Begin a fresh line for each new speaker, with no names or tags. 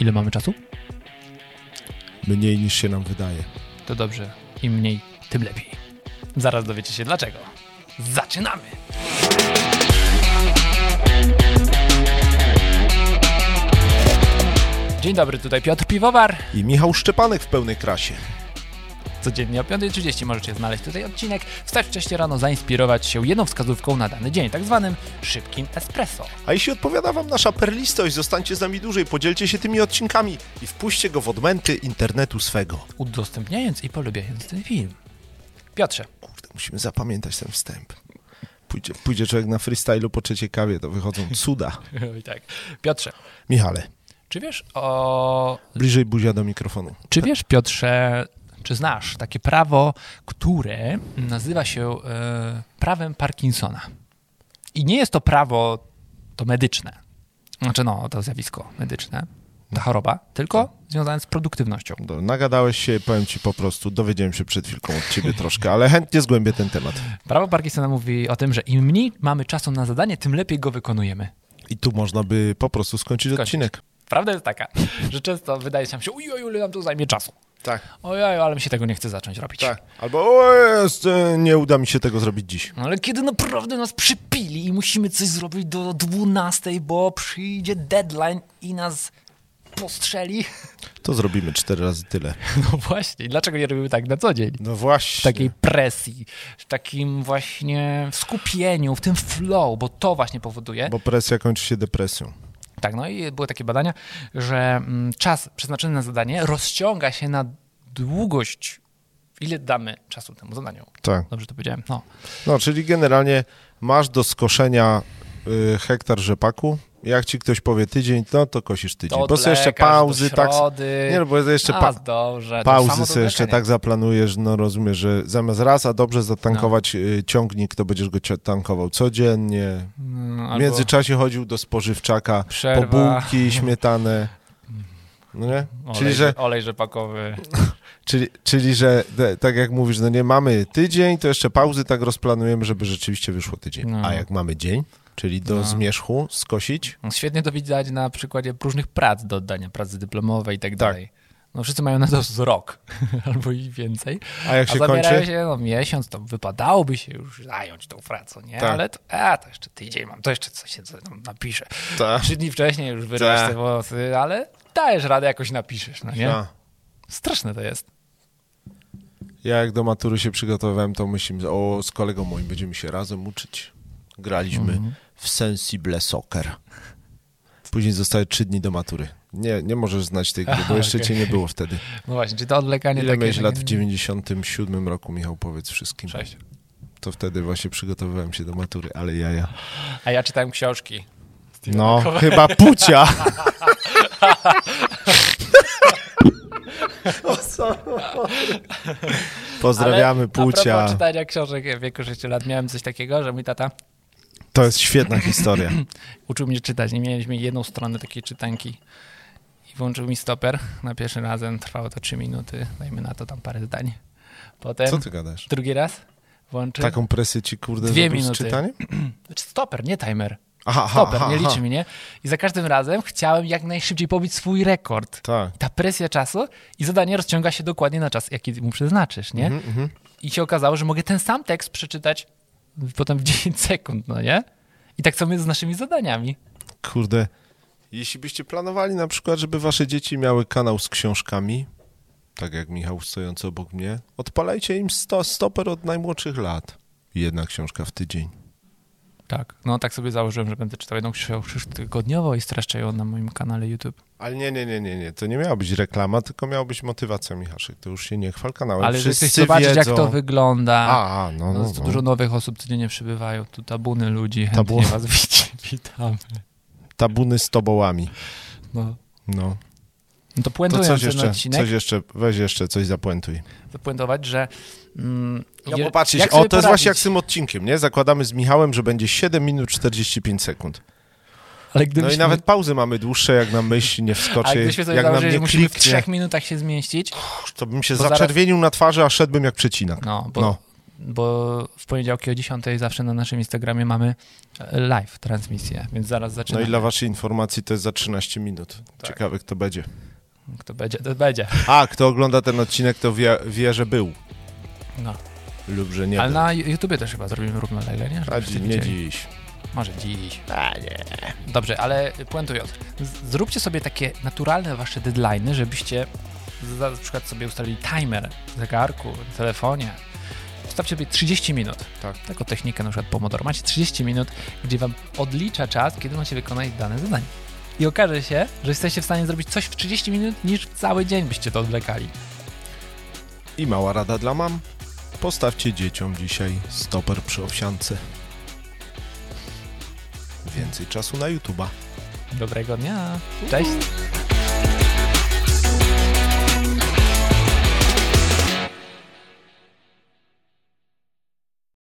Ile mamy czasu?
Mniej niż się nam wydaje.
To dobrze. Im mniej, tym lepiej. Zaraz dowiecie się dlaczego. Zaczynamy! Dzień dobry, tutaj Piotr Piwowar.
I Michał Szczepanek w pełnej krasie.
Codziennie o 5.30 możecie znaleźć tutaj odcinek, wstać wcześniej rano, zainspirować się jedną wskazówką na dany dzień, tak zwanym szybkim espresso.
A jeśli odpowiada Wam nasza perlistość, zostańcie z nami dłużej, podzielcie się tymi odcinkami i wpuśćcie go w odmęty internetu swego.
Udostępniając i polubiając ten film. Piotrze,
Kurde, musimy zapamiętać ten wstęp. Pójdzie, pójdzie człowiek na freestylu po trzeciej kawie, to wychodzą cuda.
i tak. Piotrze,
Michale,
czy wiesz o
bliżej buzia do mikrofonu.
Czy wiesz, Piotrze, czy znasz takie prawo, które nazywa się e, prawem Parkinsona? I nie jest to prawo to medyczne. Znaczy, no, to zjawisko medyczne, ta choroba, tylko związane z produktywnością.
Dobra, Nagadałeś się, powiem Ci po prostu, dowiedziałem się przed chwilką od Ciebie troszkę, ale chętnie zgłębię ten temat.
Prawo Parkinsona mówi o tym, że im mniej mamy czasu na zadanie, tym lepiej go wykonujemy.
I tu można by po prostu skończyć
Skończyć.
odcinek.
Prawda jest taka, że często wydaje nam się, ojoj, ile nam to zajmie czasu.
Tak,
Ojoj, ale mi się tego nie chce zacząć robić.
Albo o jest, e, nie uda mi się tego zrobić dziś.
No ale kiedy naprawdę nas przypili i musimy coś zrobić do 12, bo przyjdzie deadline i nas postrzeli.
To zrobimy cztery razy tyle.
No właśnie, dlaczego nie robimy tak na co dzień?
No
W
właśnie.
takiej presji, w takim właśnie skupieniu, w tym flow, bo to właśnie powoduje.
Bo presja kończy się depresją.
Tak, no i były takie badania, że mm, czas przeznaczony na zadanie rozciąga się na długość, ile damy czasu temu zadaniu.
Tak.
Dobrze to powiedziałem? No.
No, czyli generalnie masz do skoszenia y, hektar rzepaku. Jak ci ktoś powie tydzień, no to kosisz tydzień. Po prostu jeszcze
Odlekasz
pauzy,
do
tak.
środy.
Nie, no bo jeszcze
A,
pa-
dobrze, to
pauzy
samo
sobie jeszcze
odwlekanie.
tak zaplanujesz, no rozumiesz, że zamiast raz, a dobrze zatankować
No.
y, ciągnik, to będziesz go cia- tankował codziennie.
Mm,
W
albo-
międzyczasie chodził do spożywczaka
Przerwa.
po bułki, śmietanę. No nie?
Olej,
Czyli, że
olej rzepakowy.
Czyli, czyli że te, tak jak mówisz, no nie mamy tydzień, to jeszcze pauzy tak rozplanujemy, żeby rzeczywiście wyszło tydzień.
No.
A jak mamy dzień, czyli do zmierzchu skosić,
Świetnie to widać na przykładzie różnych prac do oddania, pracy dyplomowej i tak dalej. No wszyscy mają na to z rok albo i więcej.
a jak
A
się
zabierają
kończy,
się no, miesiąc, to wypadałoby się już zająć tą pracą, nie?
Tak.
Ale to, a, to jeszcze tydzień mam, to jeszcze coś się co tam napiszę.
Tak.
Trzy dni wcześniej już wyrywasz
Tak.
te włosy, ale dajesz radę, jakoś napiszesz, no nie?
A,
Straszne to jest.
ja jak do matury się przygotowywałem, to myślałem, o z kolegą moim będziemy się razem uczyć. Graliśmy
Mhm.
w Sensible Soccer. Później zostały trzy dni do matury. Nie, nie możesz znać tej gry, bo jeszcze
okej.
cię nie było wtedy.
No właśnie, czy to odlekanie
Ile
takie...
miałeś
takie-
lat w 97 roku, Michał, powiedz wszystkim.
Sześć.
To wtedy właśnie przygotowywałem się do matury, ale jaja.
A ja czytałem książki.
No, chyba pucia. Pozdrawiamy
Ale A
pucia.
propos czytania książek w wieku 6 lat miałem coś takiego, że mój tata
To jest świetna historia.
uczył mnie czytać. Nie mieliśmy jedną stronę takiej czytanki. I włączył mi stoper. Na pierwszy razem trwało to 3 minuty. Dajmy na to tam parę zdań.
Co
Potem
ty Tak. gadasz?
drugi raz włączył.
Taką presję ci kurde
Dwie
zrobił z
minuty.
czytaniem?
Znaczy Stoper, nie timer.
Aha, aha,
Stoper,
aha,
nie
aha.
liczy mnie. I za każdym razem chciałem jak najszybciej pobić swój rekord.
Tak.
Ta presja czasu i zadanie rozciąga się dokładnie na czas, jaki mu przeznaczysz, nie?
Mhm,
I się okazało, że mogę ten sam tekst przeczytać potem w 10 sekund, no nie? I tak samo jest z naszymi zadaniami.
Kurde. Jeśli byście planowali na przykład, żeby wasze dzieci miały kanał z książkami, tak jak Michał stojący obok mnie, odpalajcie im sto, stoper od najmłodszych lat. Jedna książka w tydzień.
Tak. No tak sobie założyłem, że będę czytał jedną książkę tygodniowo i streszczę ją na moim kanale YouTube.
Ale nie, nie, nie, nie, nie. To nie miała być reklama, tylko miała być motywacja, Michaszek. To już się nie chwal kanałem.
Ale że
Wszyscy
chcesz zobaczyć,
wiedzą...
jak to wygląda.
A, a, no,
No,
no,
tu
no.
Dużo nowych osób codziennie przybywają, tu tabuny ludzi, chętnie
Tabu-
was wit- witamy.
Tabuny z tobołami.
No.
No.
no to
To
puentując
coś
ten
jeszcze,
odcinek,
coś jeszcze, weź jeszcze coś zapuentuj.
zapuentować, że... Mm,
No
je-
bo patrzcie,
jak
o, to
sobie
jest
poradzić?
właśnie jak z tym odcinkiem, nie? Zakładamy z Michałem, że będzie 7 minut 45 sekund.
Ale
No
gdybyśmy,
i nawet pauzy mamy dłuższe, jak nam myśl nie
a
wskoczy,
gdybyśmy sobie
jak nam
założyli, że
nie
musimy w
kliknie,
trzech minutach się zmieścić,
to bym się
To zaraz-
zaczerwienił na twarzy, a szedłbym jak przecinak.
no, bo
No.
bo w poniedziałki o 10 zawsze na naszym Instagramie mamy e, live transmisję, więc zaraz
No
zaczynamy.
i dla waszej informacji to jest za 13 minut.
Tak.
Ciekawe, kto będzie.
Kto będzie, to będzie.
A, kto ogląda ten odcinek, to wie, wie że był.
No.
Lub, że nie.
Ale
był.
na YouTubie też chyba zrobimy równolegle, nie?
A,
Żebyście
dzi- nie
widzieli.
dziś.
Może dziś.
A, nie.
Dobrze, ale puentując. z- Zróbcie sobie takie naturalne wasze deadline'y, żebyście za- na przykład sobie ustalili timer w zegarku, w telefonie. Ustawcie sobie 30 minut.
Tak.
Taką technikę na przykład Pomodoro. Macie 30 minut, gdzie wam odlicza czas, kiedy macie wykonać dane zadanie. I okaże się, że jesteście w stanie zrobić coś w 30 minut, niż w cały dzień byście to odwlekali.
I mała rada dla mam. Postawcie dzieciom dzisiaj stoper przy owsiance. Więcej czasu na YouTube'a.
Dobrego dnia. Cześć.